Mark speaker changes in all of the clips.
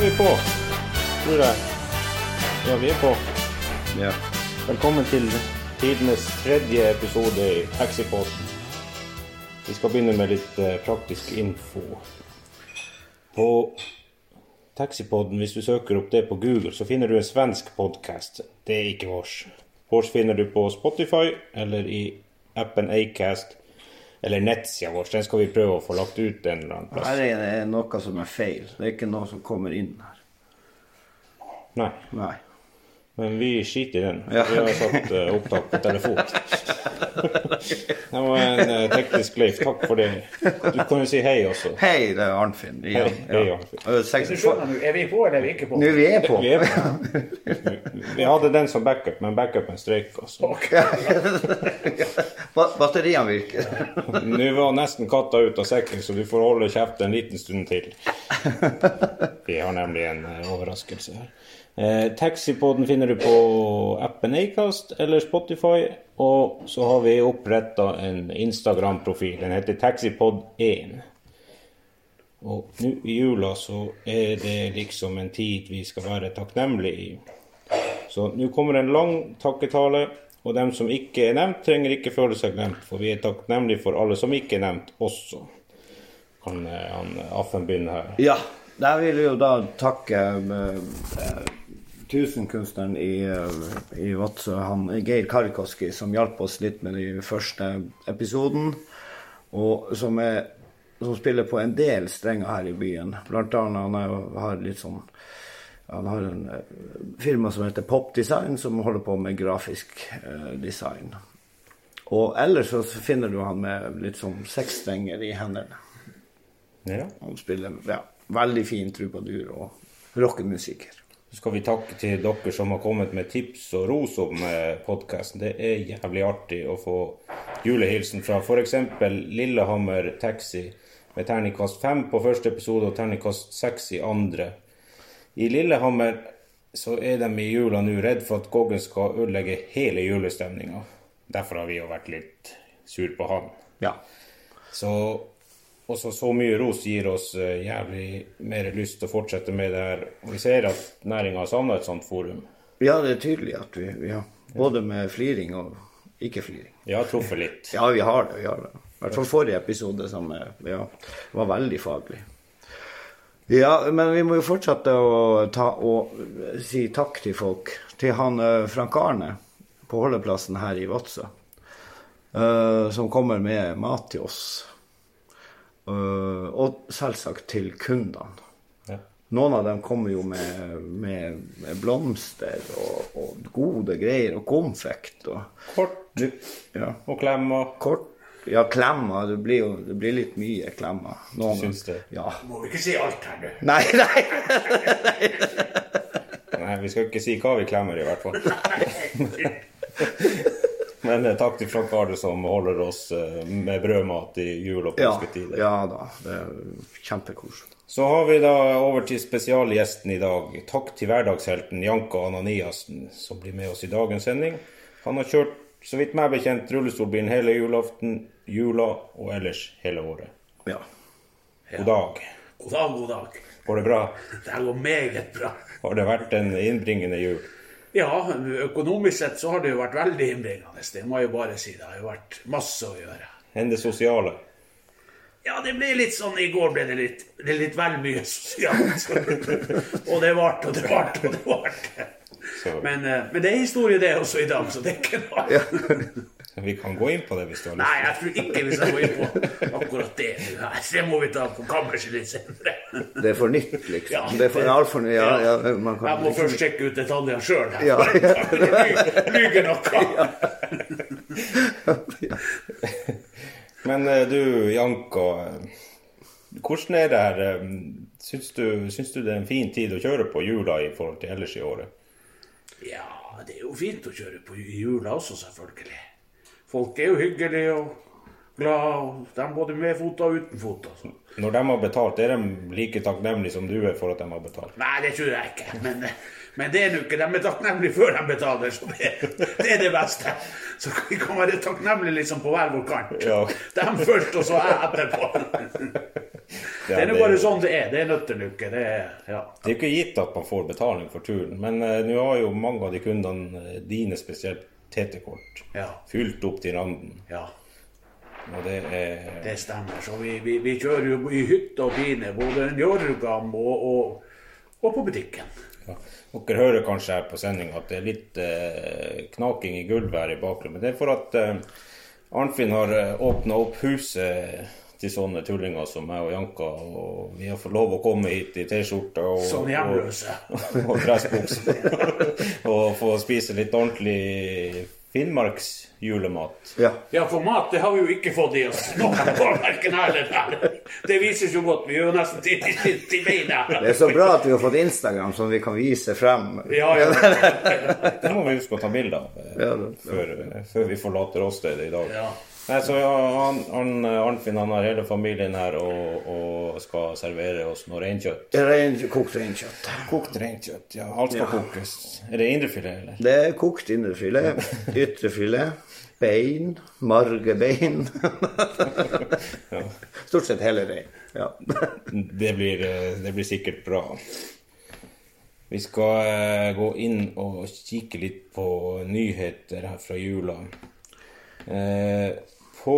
Speaker 1: vi på, tror jeg. Ja, vi er på.
Speaker 2: Ja.
Speaker 1: Velkommen til tidenes tredje episode i Taxiposten. Vi skal begynne med litt eh, praktisk info. På Taxipoden, hvis du søker opp det på Google, så finner du en svensk podkast. Det er ikke vårs. Vårs finner du på Spotify eller i appen Acast eller nettsida vår. Den skal vi prøve å få lagt ut en eller annen plass.
Speaker 2: Her er det noe som er feil. Det er ikke noe som kommer inn her.
Speaker 1: Nei,
Speaker 2: Nei.
Speaker 1: men vi skiter i den.
Speaker 2: Ja.
Speaker 1: Vi har satt eh, opptak på telefon. det var en eh, teknisk Leif. Takk for det. Du kan jo si hei også.
Speaker 2: Hei, det er Arnfinn. igjen.
Speaker 1: Hei, hei, Arnfinn.
Speaker 2: Ja. Og seks-
Speaker 3: Du skjønner nå, er vi på eller er vi ikke på?
Speaker 2: Nå vi er på.
Speaker 1: Vi, er, vi hadde den som backup, men backupen strøyk. altså.
Speaker 2: Ba- Batteriene virker.
Speaker 1: Nå var nesten katta ut av sekken, så du får holde kjeft en liten stund til. Vi har nemlig en eh, overraskelse her. Eh, Taxipoden finner du på appen Acast eller Spotify. Og så har vi oppretta en Instagram-profil. Den heter Taxipod1. Og nå i jula så er det liksom en tid vi skal være takknemlige i. Så nå kommer en lang takketale, og dem som ikke er nevnt, trenger ikke føle seg glemt, for vi er takknemlige for alle som ikke er nevnt også. Kan eh, han Affen begynne her?
Speaker 2: Ja. Der vil jeg jo da takke eh, eh, tusenkunstneren i, eh, i Vadsø, han Geir Karkoski, som hjalp oss litt med den første episoden. Og som, er, som spiller på en del strenger her i byen. Blant annet han er- har litt sånn Han har en eh, firma som heter Popdesign, som holder på med grafisk eh, design. Og ellers så finner du han med litt sånn seksstrenger i hendene.
Speaker 1: Ja.
Speaker 2: Han spiller ja, veldig fin trubadur og rockemusiker.
Speaker 1: Så skal vi takke til dere som har kommet med tips og ros om podkasten. Det er jævlig artig å få julehilsen fra f.eks. Lillehammer Taxi med terningkast 5 på første episode og terningkast 6 i andre. I Lillehammer så er de i jula nå redd for at Goggen skal ødelegge hele julestemninga. Derfor har vi jo vært litt sur på han.
Speaker 2: Ja.
Speaker 1: Så også så mye ros gir oss eh, jævlig mer lyst til å fortsette med det her. Og Vi ser at næringa har savna et sånt forum.
Speaker 2: ja, det er tydelig at vi, vi har både med fliring og ikke-fliring.
Speaker 1: Vi har truffet litt.
Speaker 2: Ja, vi har det. vi har det. I hvert fall forrige episode, som eh, ja, var veldig faglig. Ja, men vi må jo fortsette å ta, og eh, si takk til folk. Til han eh, Frank Arne på holdeplassen her i Vadsø. eh, som kommer med mat til oss. Eh, og selvsagt til kundene.
Speaker 1: Ja.
Speaker 2: Noen av dem kommer jo med, med, med blomster og, og gode greier og konfekt og
Speaker 1: Kort
Speaker 2: ja.
Speaker 1: og klemmer.
Speaker 2: Kort Ja, klemmer. Det blir jo det blir litt mye klemmer. Noen,
Speaker 1: Syns det.
Speaker 2: Ja.
Speaker 3: Må vi ikke si alt her, du?
Speaker 2: Nei, nei!
Speaker 1: Nei, vi skal ikke si hva vi klemmer, i hvert fall. Men eh, takk til Frank Arne som holder oss eh, med brødmat i jul og
Speaker 2: Ja,
Speaker 1: påsketider.
Speaker 2: ja da. Det er kjempekoselig.
Speaker 1: Så har vi da over til spesialgjesten i dag. Takk til hverdagshelten Janko Ananiassen, som blir med oss i dagens sending. Han har kjørt, så vidt meg bekjent, rullestolbilen hele julaften, jula og ellers hele året.
Speaker 2: Ja.
Speaker 1: God dag.
Speaker 3: God dag, god dag.
Speaker 1: Går det bra?
Speaker 3: Det her går meget bra.
Speaker 1: Har det vært en innbringende jul?
Speaker 3: Ja, økonomisk sett så har det jo vært veldig innbringende. Det må jeg jo bare si. Det har jo vært masse å gjøre.
Speaker 1: Enn det sosiale?
Speaker 3: Ja, det ble litt sånn I går ble det litt, det er litt vel mye sosialt. og det varte og det varte og det varte.
Speaker 1: Så
Speaker 3: Men, eh, men det er historie, det også, i dag, så det er ikke noe
Speaker 1: vi kan gå inn på det hvis du har
Speaker 3: Nei,
Speaker 1: lyst.
Speaker 3: jeg tror ikke vi skal gå inn på akkurat det nå her. Det må vi ta på kammerset litt senere.
Speaker 2: Det er for nytt, liksom.
Speaker 3: Ja.
Speaker 2: det er for altfor nytt. Ja, ja, man
Speaker 3: jeg
Speaker 2: kan
Speaker 3: må
Speaker 2: liksom
Speaker 3: først sjekke ut detaljene sjøl.
Speaker 2: Ja.
Speaker 3: Lyver noe.
Speaker 1: Men eh, du, Janko. eh, Hvordan er det her? eh, Syns du, syns du det er en fin tid å kjøre på jula i forhold til ellers i året?
Speaker 3: Ja, det er jo fint å kjøre på i jula også, selvfølgelig. Folk er jo hyggelige og glade. og De er både med fot og uten fot. Altså.
Speaker 1: Når de har betalt, er de like takknemlige som du er for at de har betalt?
Speaker 3: Nei, det tror jeg ikke. Men, Men det er nå ikke. De er takknemlige før de betaler, så det, det er det beste. Så vi kan være takknemlige liksom på hver vår kant.
Speaker 1: Ja.
Speaker 3: De først, og så jeg etterpå. Det er nå
Speaker 1: det-
Speaker 3: bare sånn det er. Det er nødt til uke. Det er, ja.
Speaker 1: Det er jo ikke gitt at man får betaling for turen, men eh, nå har jo mange av de kundene eh, dine spesielt TT-kort
Speaker 3: Ja.
Speaker 1: fylt opp til randen,
Speaker 3: ja.
Speaker 1: og det er
Speaker 3: Det stemmer. Så vi, vi, vi kjører jo i hytte og pine, både i Njørgam og, og, og på butikken.
Speaker 1: ja. Dere hører kanskje her på sendinga at det er litt eh, knaking i gulvet her i bakgrunnen, men det er for at eh, Arnfinn har åpna opp huset til sånne tullinger som meg og Janka, og vi har fått lov å komme hit i T-skjorte og
Speaker 3: Sånn hjemløse.
Speaker 1: og dressbukse. og få spise litt ordentlig Finnmarks julemat.
Speaker 2: Ja.
Speaker 3: Ja, for mat det har vi jo ikke fått i oss. Nå, hverken her eller der. Det vises jo godt. Vi gjør jo nesten til, til, til beina.
Speaker 2: Det er så bra at vi har fått Instagram som vi kan vise frem.
Speaker 3: Ja, ja.
Speaker 1: Det må vi huske å ta bilde av eh,
Speaker 2: Ja, det-
Speaker 1: før, før vi forlater åstedet i dag.
Speaker 3: Ja.
Speaker 1: Nei, så ja, han, han, eh, Arnfinn han har hele familien her og, og skal servere oss noe reinkjøtt.
Speaker 2: Rein, kokt reinkjøtt.
Speaker 1: Kokt reinkjøtt, ja. Alt skal kokes. Er det indrefilet, eller?
Speaker 2: Det er kokt indrefilet, ytrefilet, bein, margebein. Stort sett hele rein. Ja.
Speaker 1: Det blir, eh, det blir sikkert bra. Vi skal eh, gå inn og kikke litt på nyheter her fra jula. Eh, På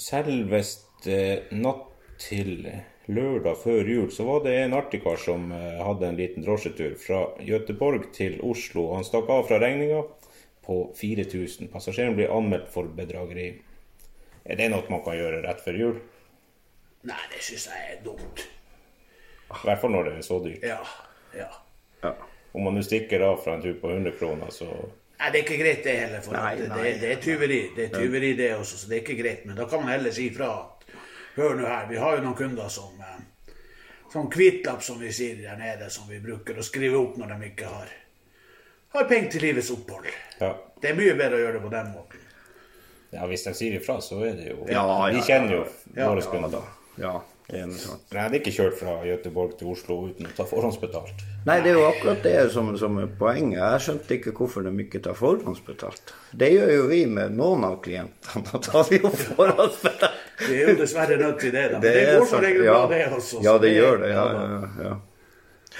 Speaker 1: selveste natt til lørdag før jul så var det en artikar som eh, hadde en liten drosjetur fra Gøteborg til Oslo. Han stakk av fra regninga på 4000. Passasjeren blir anmeldt for bedrageri. Er det noe man kan gjøre rett før jul?
Speaker 3: Nei, det syns jeg er dumt.
Speaker 1: I hvert fall når det er så dyrt.
Speaker 3: Ja. ja.
Speaker 2: Ja.
Speaker 1: Om man nå stikker av fra en tur på 100 kroner, så
Speaker 3: Nei, det er ikke greit, det heller. For
Speaker 2: Nei,
Speaker 3: at
Speaker 2: nei.
Speaker 3: Det, det er tyveri, det er tyveri det også, så det er ikke greit. Men da kan man heller si fra at Hør nå her, vi har jo noen kunder som eh, Sånn kvittlapp, som vi sier der nede, som vi bruker å skrive opp når de ikke har Har penger til livets opphold.
Speaker 1: ja.
Speaker 3: Det er mye bedre å gjøre det på den måten.
Speaker 1: ja hvis de sier ifra, så er det jo
Speaker 2: Ja, ja,
Speaker 1: Vi kjenner jo
Speaker 3: ja.
Speaker 1: våre
Speaker 2: Ja
Speaker 1: kunder.
Speaker 2: da. Ja, det er noe sånt.
Speaker 1: Jeg hadde ikke kjørt fra Gøteborg til Oslo uten å ta forhåndsbetalt.
Speaker 2: Nei, det er jo akkurat det som, som er poenget. Jeg skjønte ikke hvorfor de ikke tar forhåndsbetalt. Det gjør jo vi med noen av klientene. Da tar vi jo forhåndsbetalt.
Speaker 3: Vi er jo dessverre nødt til det, da. Men det, går som
Speaker 2: sånn-
Speaker 3: regel
Speaker 2: ja,
Speaker 3: bra, det også. så
Speaker 2: Ja, det gjør det. Ja, ja,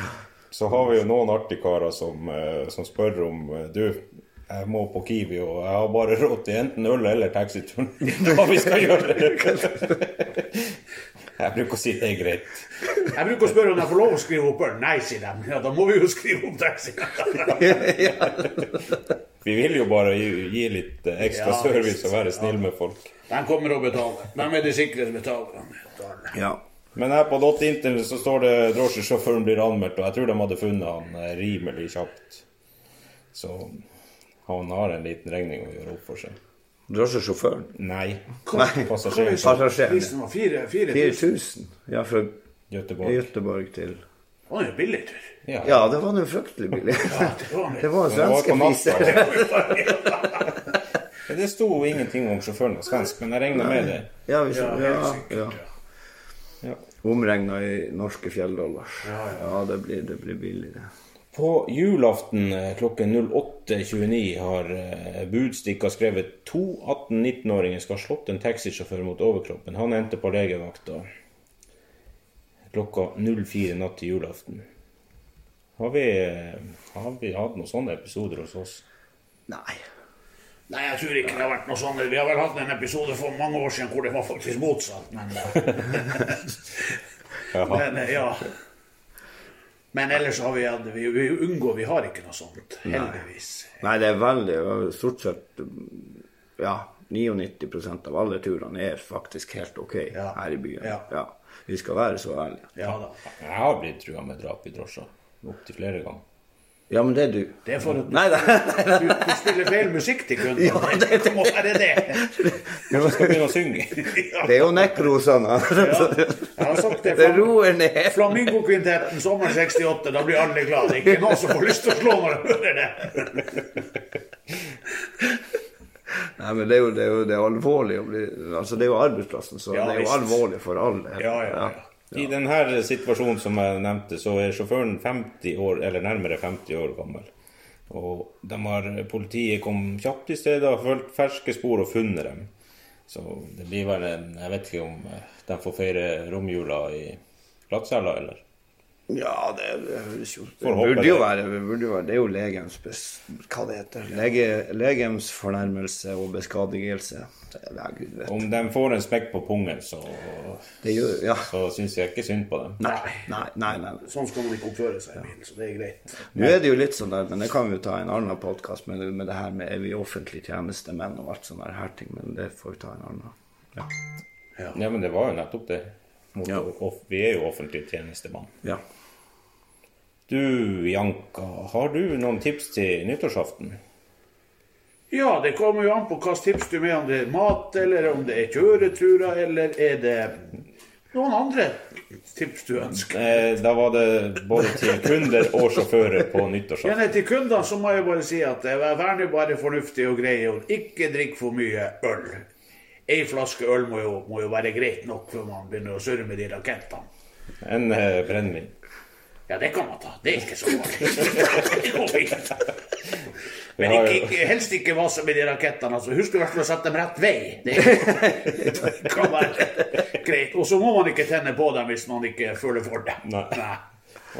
Speaker 2: ja.
Speaker 1: Så har vi jo noen artigkarer som, eh, som spør om eh, Du, jeg må på Kiwi, og jeg har bare råd til enten øl eller taxituren. Hva vi skal gjøre? Jeg bruker å si det er greit.
Speaker 3: Jeg bruker å spørre om jeg får lov å skrive opp øl. Nei, sier de. Ja, da må vi jo skrive opp taxien.
Speaker 1: Vi vil jo bare gi, gi litt eh, ekstra
Speaker 3: Ja,
Speaker 1: service og være snill med folk.
Speaker 3: De kommer og betaler. De er de sikre betalerne.
Speaker 2: ja.
Speaker 1: Men her på Dot Internet så står det drosjesjåføren blir anmeldt, og jeg tror de hadde funnet han eh, rimelig kjapt. Så han har en liten regning å gjøre opp for seg.
Speaker 2: Drosjesjåføren.
Speaker 1: Nei.
Speaker 2: Nei.
Speaker 1: Passasjeren fra
Speaker 2: Passasjeren.
Speaker 3: Prisen var fire, fire tusen.
Speaker 2: 4000. Ja, fra
Speaker 1: Göteborg.
Speaker 2: Göteborg til
Speaker 3: Det var jo en billig tur.
Speaker 1: Ja.
Speaker 2: Ja, det var nå fryktelig billig.
Speaker 3: Ja, det var
Speaker 1: Men
Speaker 2: Det var
Speaker 1: det var
Speaker 2: svenske
Speaker 1: på
Speaker 2: priser.
Speaker 1: natta.
Speaker 3: det.
Speaker 1: Det sto ingenting om sjåføren var svensk, men jeg regna med det.
Speaker 2: Ja, vi skjønner. Ja,
Speaker 3: Ja, helt sikkert,
Speaker 2: ja.
Speaker 1: Ja.
Speaker 2: Omregna i norske fjelldollars.
Speaker 3: Ja, ja.
Speaker 2: Ja, det blir, det blir billig, det.
Speaker 1: På julaften eh, klokken 08.29 har eh, Budstikka skrevet to 18-19-åringer skal ha slått en taxisjåfør mot overkroppen. Han endte på legevakta klokka 04 natt til julaften. Har vi, eh, har vi hatt noen sånne episoder hos oss?
Speaker 2: Nei.
Speaker 3: Nei, jeg tror ikke det har vært noe sånt. Vi har vel hatt en episode for mange år siden hvor det var faktisk motsatt, men eh, Men, eh, ja. Men ellers har vi hatt Vi, vi unngår Vi har ikke noe sånt, heldigvis.
Speaker 2: Nei, det er veldig Stort sett ja, 99 av alle turene er faktisk helt ok
Speaker 3: Ja.
Speaker 2: her i byen.
Speaker 3: Ja.
Speaker 2: Vi skal være så ærlige.
Speaker 3: Ja da.
Speaker 1: Jeg har blitt trua med drap i drosja opptil flere ganger.
Speaker 2: Ja, men det er du.
Speaker 3: Det er for at
Speaker 2: Nei, nei, nei,
Speaker 3: du, du spiller feil musikk til kunden. det, må være det.
Speaker 1: Skal begynne å synge.
Speaker 3: Ja.
Speaker 2: det er jo nekrosene.
Speaker 3: Jeg har sagt det.
Speaker 2: Det roer ned.
Speaker 3: Flamingokvintetten sommeren 68, da blir alle glade. Ikke noen som får lyst til å slå når de hører det.
Speaker 2: Nei, men det er jo, det er jo det er alvorlig å bli Altså, det er jo arbeidsplassen, så
Speaker 3: Ja,
Speaker 2: det er jo
Speaker 3: visst.
Speaker 2: alvorlig for alle.
Speaker 3: Ja, ja, ja.
Speaker 1: I denne situasjonen som jeg nevnte, så er sjåføren 50 år, eller nærmere 50 år gammel. Og de har, politiet kom kjapt til stedet, har fulgt ferske spor og funnet dem. Så det blir vel en Jeg vet ikke om eh, de får feire romjula i glattcella, eller?
Speaker 2: Ja, det, det høres jo Det
Speaker 1: Får håpe
Speaker 2: burde jo
Speaker 1: det.
Speaker 2: være det, burde jo være, det er jo legems bes, Hva det heter Lege, Legems fornærmelse og beskadigelse. Det er- Ja, gud vet.
Speaker 1: Om de får en smekk på pungen, så,
Speaker 2: Det gjør Ja.
Speaker 1: så syns jeg ikke synd på dem.
Speaker 2: Nei, nei, nei. nei.
Speaker 3: Sånn skal man ikke oppføre seg i bilen, så det er greit.
Speaker 2: Nå er det jo litt sånn der, men det kan vi jo ta i en annen podkast, med, med det her med er vi offentlige tjenestemenn og alt sånne her ting, men det får vi ta i en annen. Ja.
Speaker 1: Ja, men det var jo nettopp det. Mot-
Speaker 2: Ja.
Speaker 1: off- Vi er jo offentlig tjenestemann.
Speaker 2: ja.
Speaker 1: Du, Janka, har du noen tips til nyttårsaften?
Speaker 3: Ja, det kommer jo an på hva slags tips du med om det er mat, eller om det er kjøreturer, eller er det noen andre tips du ønsker.
Speaker 1: Eh, da var det både til kunder og sjåfører på nyttårsaften.
Speaker 3: Gjerne til kundene så må jeg bare si at eh, vær nå bare fornuftig og grei, og ikke drikk for mye øl. Ei flaske øl må jo, må jo være greit nok før man begynner å surre med de rakettene.
Speaker 1: En eh, brennevin.
Speaker 3: Ja, det kan man ta. Det er ikke så farlig. Det går fint. Men
Speaker 1: Vi har
Speaker 3: ikke,
Speaker 1: jo-
Speaker 3: ikke, helst ikke masse med de rakettene. Altså. Husk i hvert fall å sette dem rett vei. Det kan være greit. Og så må man ikke tenne på dem hvis man ikke føler for det.
Speaker 1: Nei.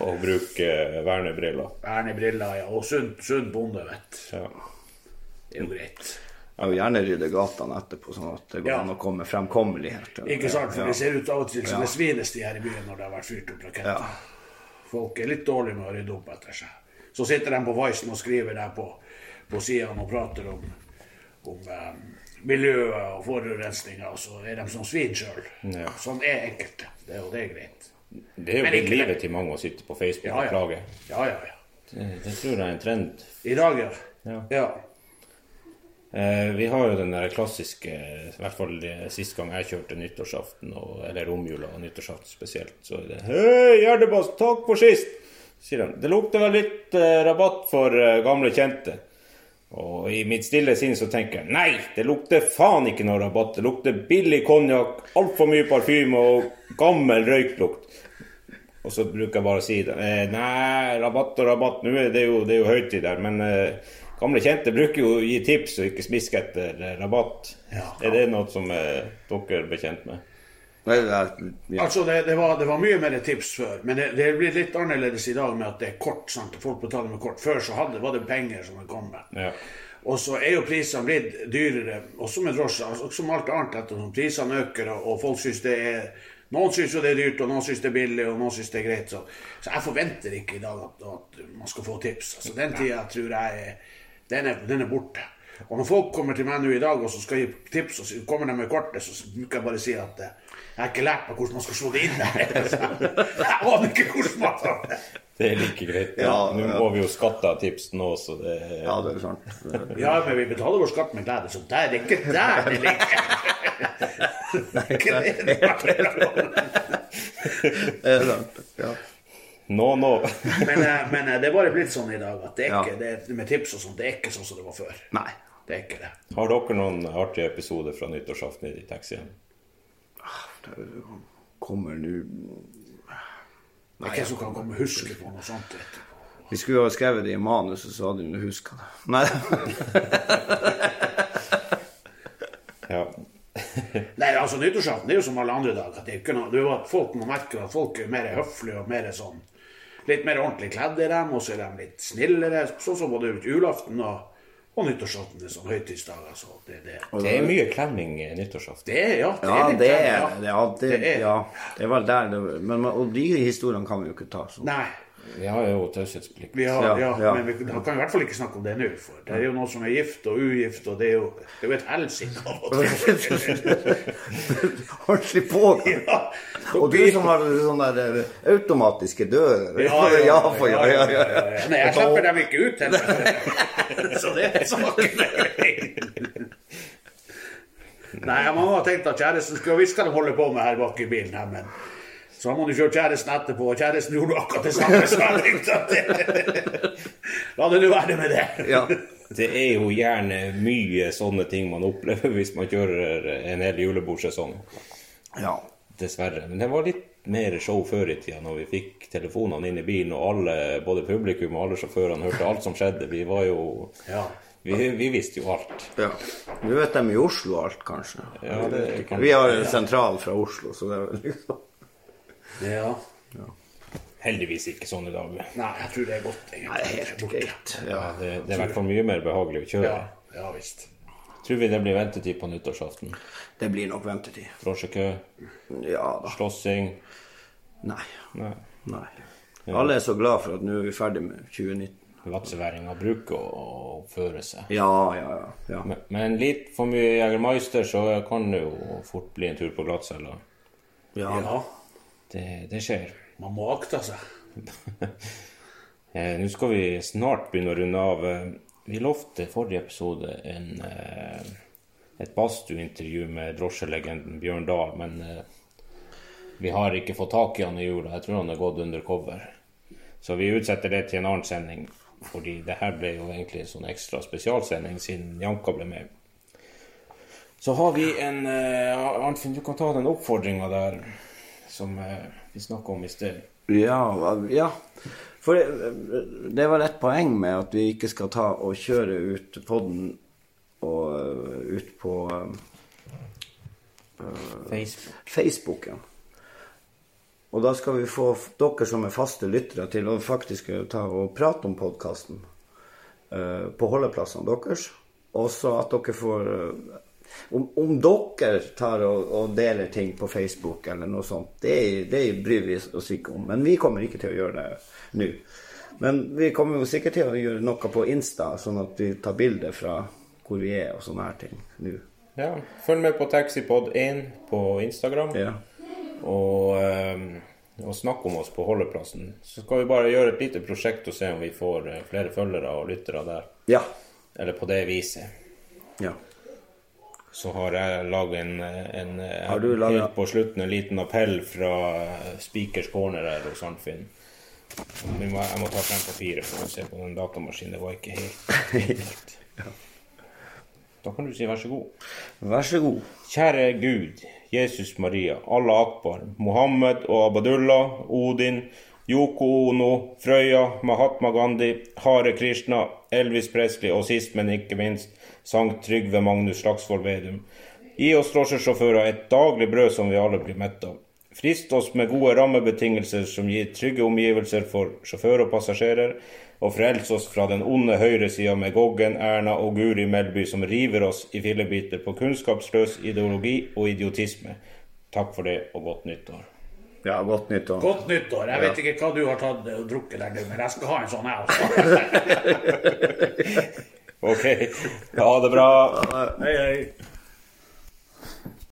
Speaker 1: Og bruke eh, vernebriller.
Speaker 3: Vernebriller, ja. Og sunn, sunn bonde, vet du.
Speaker 1: Ja.
Speaker 3: Det er jo greit.
Speaker 2: Jeg vil gjerne rydde gatene etterpå, sånn at det går
Speaker 3: Ja.
Speaker 2: an å komme med fremkommelighet.
Speaker 3: Ikke sant? For
Speaker 2: Ja.
Speaker 3: det ser ut av og til som det svines de her i byen når det har vært fyrt opp raketter. Folk er litt dårlige med å rydde opp etter seg. Så sitter de på Vicen og skriver der på, på sidene og prater om, om eh, miljøet og forurensninga, og så er de som svin sjøl.
Speaker 1: Ja.
Speaker 3: Sånn er enkelte. Det er jo det er greit.
Speaker 1: Det er jo
Speaker 3: Men
Speaker 1: blitt
Speaker 3: ikke-
Speaker 1: livet til mange å sitte på Facebook
Speaker 3: Ja,
Speaker 1: og
Speaker 3: ja.
Speaker 1: klage.
Speaker 3: ja, ja, ja.
Speaker 1: Det, det tror jeg er en trend.
Speaker 3: I dag, ja.
Speaker 1: Ja.
Speaker 3: ja.
Speaker 1: Eh, vi har jo den der klassiske, i hvert fall eh, sist gang jeg kjørte nyttårsaften, og, eller romjula og nyttårsaften spesielt, så er det Hei, Gjerdebass, takk for sist! sier de. Det lukter vel litt eh, rabatt for eh, gamle kjente. Og i mitt stille sinn så tenker jeg nei, det lukter faen ikke noe rabatt. Det lukter billig konjakk, altfor mye parfyme og gammel røyklukt. Og så bruker jeg bare å si det. Eh, nei, rabatt og rabatt, nå er det jo, det er jo høytid der. Men eh, gamle kjente bruker jo å gi tips og ikke smiske etter eh, rabatt.
Speaker 3: Ja.
Speaker 1: Er det noe som eh, dere er bekjent med?
Speaker 2: Nei, det er- ja.
Speaker 3: Altså, det, det, var, det var mye mer tips før, men det, det blir litt annerledes i dag med at det er kort. sant? Folk betaler med kort. Før så hadde, var det penger som kom med.
Speaker 1: Ja.
Speaker 3: Og så er jo prisene blitt dyrere, også med drosje, altså, og som alt annet. ettersom Prisene øker, og, og folk syns det er Noen syns jo det er dyrt, og noen syns det er billig, og noen syns det er greit. Så, så jeg forventer ikke i dag at, at man skal få tips. Altså, den tida tror jeg er- den er, den er borte. Og når folk kommer til meg nå i dag og så skal gi tips, og så kommer de med kortet, så bruker jeg bare si at eh, jeg har ikke lært meg hvordan man skal slå det inn. jeg aner ikke hvordan man tar det.
Speaker 1: Det er like greit.
Speaker 2: Ja,
Speaker 1: nå
Speaker 2: ja.
Speaker 1: må vi jo skatte av tips nå, så det eh, er
Speaker 2: ja, det er sant.
Speaker 3: Ja, men vi betaler vår skatt med glede, så der det er ikke der det ligger.
Speaker 2: Det er sant. Ja.
Speaker 1: No, no.
Speaker 3: men, eh, men eh, det er bare blitt sånn i dag at det er
Speaker 2: Ja.
Speaker 3: ikke, det, er- med tips og sånt, det er ikke sånn som det var før.
Speaker 2: Nei.
Speaker 3: Det er ikke det.
Speaker 1: Har dere noen artige episoder fra nyttårsaften i taxien?
Speaker 2: Det kommer nå
Speaker 3: Det er ikke som kan komme og huske på noe sånt. Vet du.
Speaker 2: Vi skulle jo ha skrevet det i manuset, så hadde hun huska det. Nei.
Speaker 1: Ja.
Speaker 3: Nei, altså Nyttårsaften det er jo som alle andre dager. at Det er ikke noe, det er jo at folk må merke at folk er mer høflige og mer sånn Litt mer ordentlig kledd er dem, og så er de litt snillere. Sånn som både julaften og, og nyttårsaften er sånn høytidsdager. Så det, det,
Speaker 1: Det er mye klemming eh, nyttårsaften.
Speaker 3: det er ja, det
Speaker 2: Ja,
Speaker 3: litt
Speaker 2: det
Speaker 3: kledd,
Speaker 2: er det. Ja, det,
Speaker 3: Det er-
Speaker 2: ja, det var der det var. Men, Og de historiene kan vi jo ikke ta sånn.
Speaker 3: Nei,
Speaker 1: Vi har jo taushetsplikt.
Speaker 3: vi har,
Speaker 2: Ja,
Speaker 3: ja,
Speaker 2: ja.
Speaker 3: men vi da kan vi i hvert fall ikke snakke om det nå. For det er jo noen som er gift og ugift, og det er jo, det er jo et helsike. av og til.
Speaker 2: Ordentlig på!
Speaker 3: Ja,
Speaker 2: Og du som har sånne der eh, automatiske dører. ja, for, ja, ja, ja, ja.
Speaker 3: Nei, jeg slipper dem ikke ut heller. Så det er saken. Nei, mamma har tenkt at kjæresten skulle visst hva de holder på med her bak i bilen her, men så har man jo kjørt kjæresten etterpå, og kjæresten gjorde akkurat det samme. Så jeg tenkte at La det nå være med det.
Speaker 2: Ja.
Speaker 1: Det er jo gjerne eh, mye sånne ting man opplever hvis man kjører en hel julebordsesong.
Speaker 2: ja.
Speaker 1: dessverre. Men det var litt mer show før i tida, når vi fikk telefonene inn i bilen, og alle, både publikum og alle sjåførene hørte alt som skjedde. Vi var jo
Speaker 3: Ja.
Speaker 1: Vi, vi visste jo alt.
Speaker 2: Ja. Nå vet de i Oslo alt, kanskje.
Speaker 1: Ja, det kan-
Speaker 2: Vi har en sentral fra Oslo, så det er vel liksom
Speaker 3: ja.
Speaker 1: Heldigvis ikke sånn i dag.
Speaker 3: Nei, jeg tror det er godt. egentlig.
Speaker 2: Nei, helt
Speaker 3: Borte.
Speaker 2: greit. Ja.
Speaker 1: Det, det er i hvert fall mye mer behagelig å kjøre.
Speaker 3: Ja, ja visst.
Speaker 1: Tror vi det blir ventetid på nyttårsaften.
Speaker 2: Det blir nok ventetid.
Speaker 1: Drosjekø,
Speaker 2: Ja da.
Speaker 1: slåssing
Speaker 2: Nei.
Speaker 1: Nei.
Speaker 2: Nei. Alle er så glad for at nå er vi ferdig med 2019.
Speaker 1: Latseværinger bruker å oppføre seg.
Speaker 2: Ja, ja, ja. ja.
Speaker 1: Men- Men litt for mye Jegermeister, så kan det jo fort bli en tur på glattcella.
Speaker 2: ja.
Speaker 3: Ja.
Speaker 1: Det, det skjer.
Speaker 3: Man må akte seg.
Speaker 1: Eh, Nå skal vi snart begynne å runde av. Eh, Vi lovte forrige episode en, eh, et badstueintervju med drosjelegenden Bjørn Dahl, men eh, vi har ikke fått tak i han i jula. Jeg tror han er gått undercover. Så vi utsetter det til en annen sending, fordi det her ble jo egentlig en sånn ekstra spesialsending siden Janka ble med. Så har vi en eh, Arnfinn, du kan ta den oppfordringa der som eh, vi snakka om i sted.
Speaker 2: Ja, hva- ja. For det, det var et poeng med at vi ikke skal ta og kjøre ut podden og øh, ut på øh,
Speaker 1: Facebook.
Speaker 2: Facebooken. Og da skal vi få f- dere som er faste lyttere til å faktisk eh, ta og prate om podkasten på holdeplassene deres. Og så at dere får eh, om, om dere tar og, og deler ting på Facebook eller noe sånt, det, det bryr vi oss ikke om. Men vi kommer ikke til å gjøre det nå. Men vi kommer jo sikkert til å gjøre noe på Insta, sånn at vi tar bilder fra hvor vi er og sånne her ting nå.
Speaker 1: Ja, følg med på Taxipod1 på Instagram,
Speaker 2: Ja.
Speaker 1: og, ehm, og snakk om oss på holdeplassen. Så skal vi bare gjøre et lite prosjekt og se om vi får eh, flere følgere og lyttere der.
Speaker 2: Ja.
Speaker 1: Eller på det viset.
Speaker 2: ja.
Speaker 1: Så har jeg laget en, en eh,
Speaker 2: Har du laget-
Speaker 1: helt på slutten en liten appell fra eh, Speakers Corner her hos Arnfinn. Vi må, jeg må ta frem papiret for å se på den datamaskinen. Det var ikke helt enkelt. Da kan du si vær så god.
Speaker 2: Vær så god.
Speaker 1: Kjære Gud, Jesus Maria, Allah Akbar, Mohammed og Abadullah, Odin, Yoko Ono, Frøya, Mahatma Gandhi, Hare Krishna, Elvis Presley og sist, men ikke minst, Sankt Trygve Magnus Slagsvold Vedum. Gi oss drosjesjåfører et daglig brød som vi alle blir mett av. Frist oss med gode rammebetingelser som gir trygge omgivelser for sjåfør og passasjerer, og frels oss fra den onde høyresida med Goggen, Erna og Guri Melby som river oss i fillebiter på kunnskapsløs ideologi og idiotisme. Takk for det, og godt nyttår.
Speaker 2: Ja, godt nyttår.
Speaker 3: Godt nyttår. Jeg vet ikke hva du har tatt eh, og drukket der nå, men jeg skal ha en sånn, jeg også.
Speaker 1: Ok, ha det bra.
Speaker 3: Hei, hei.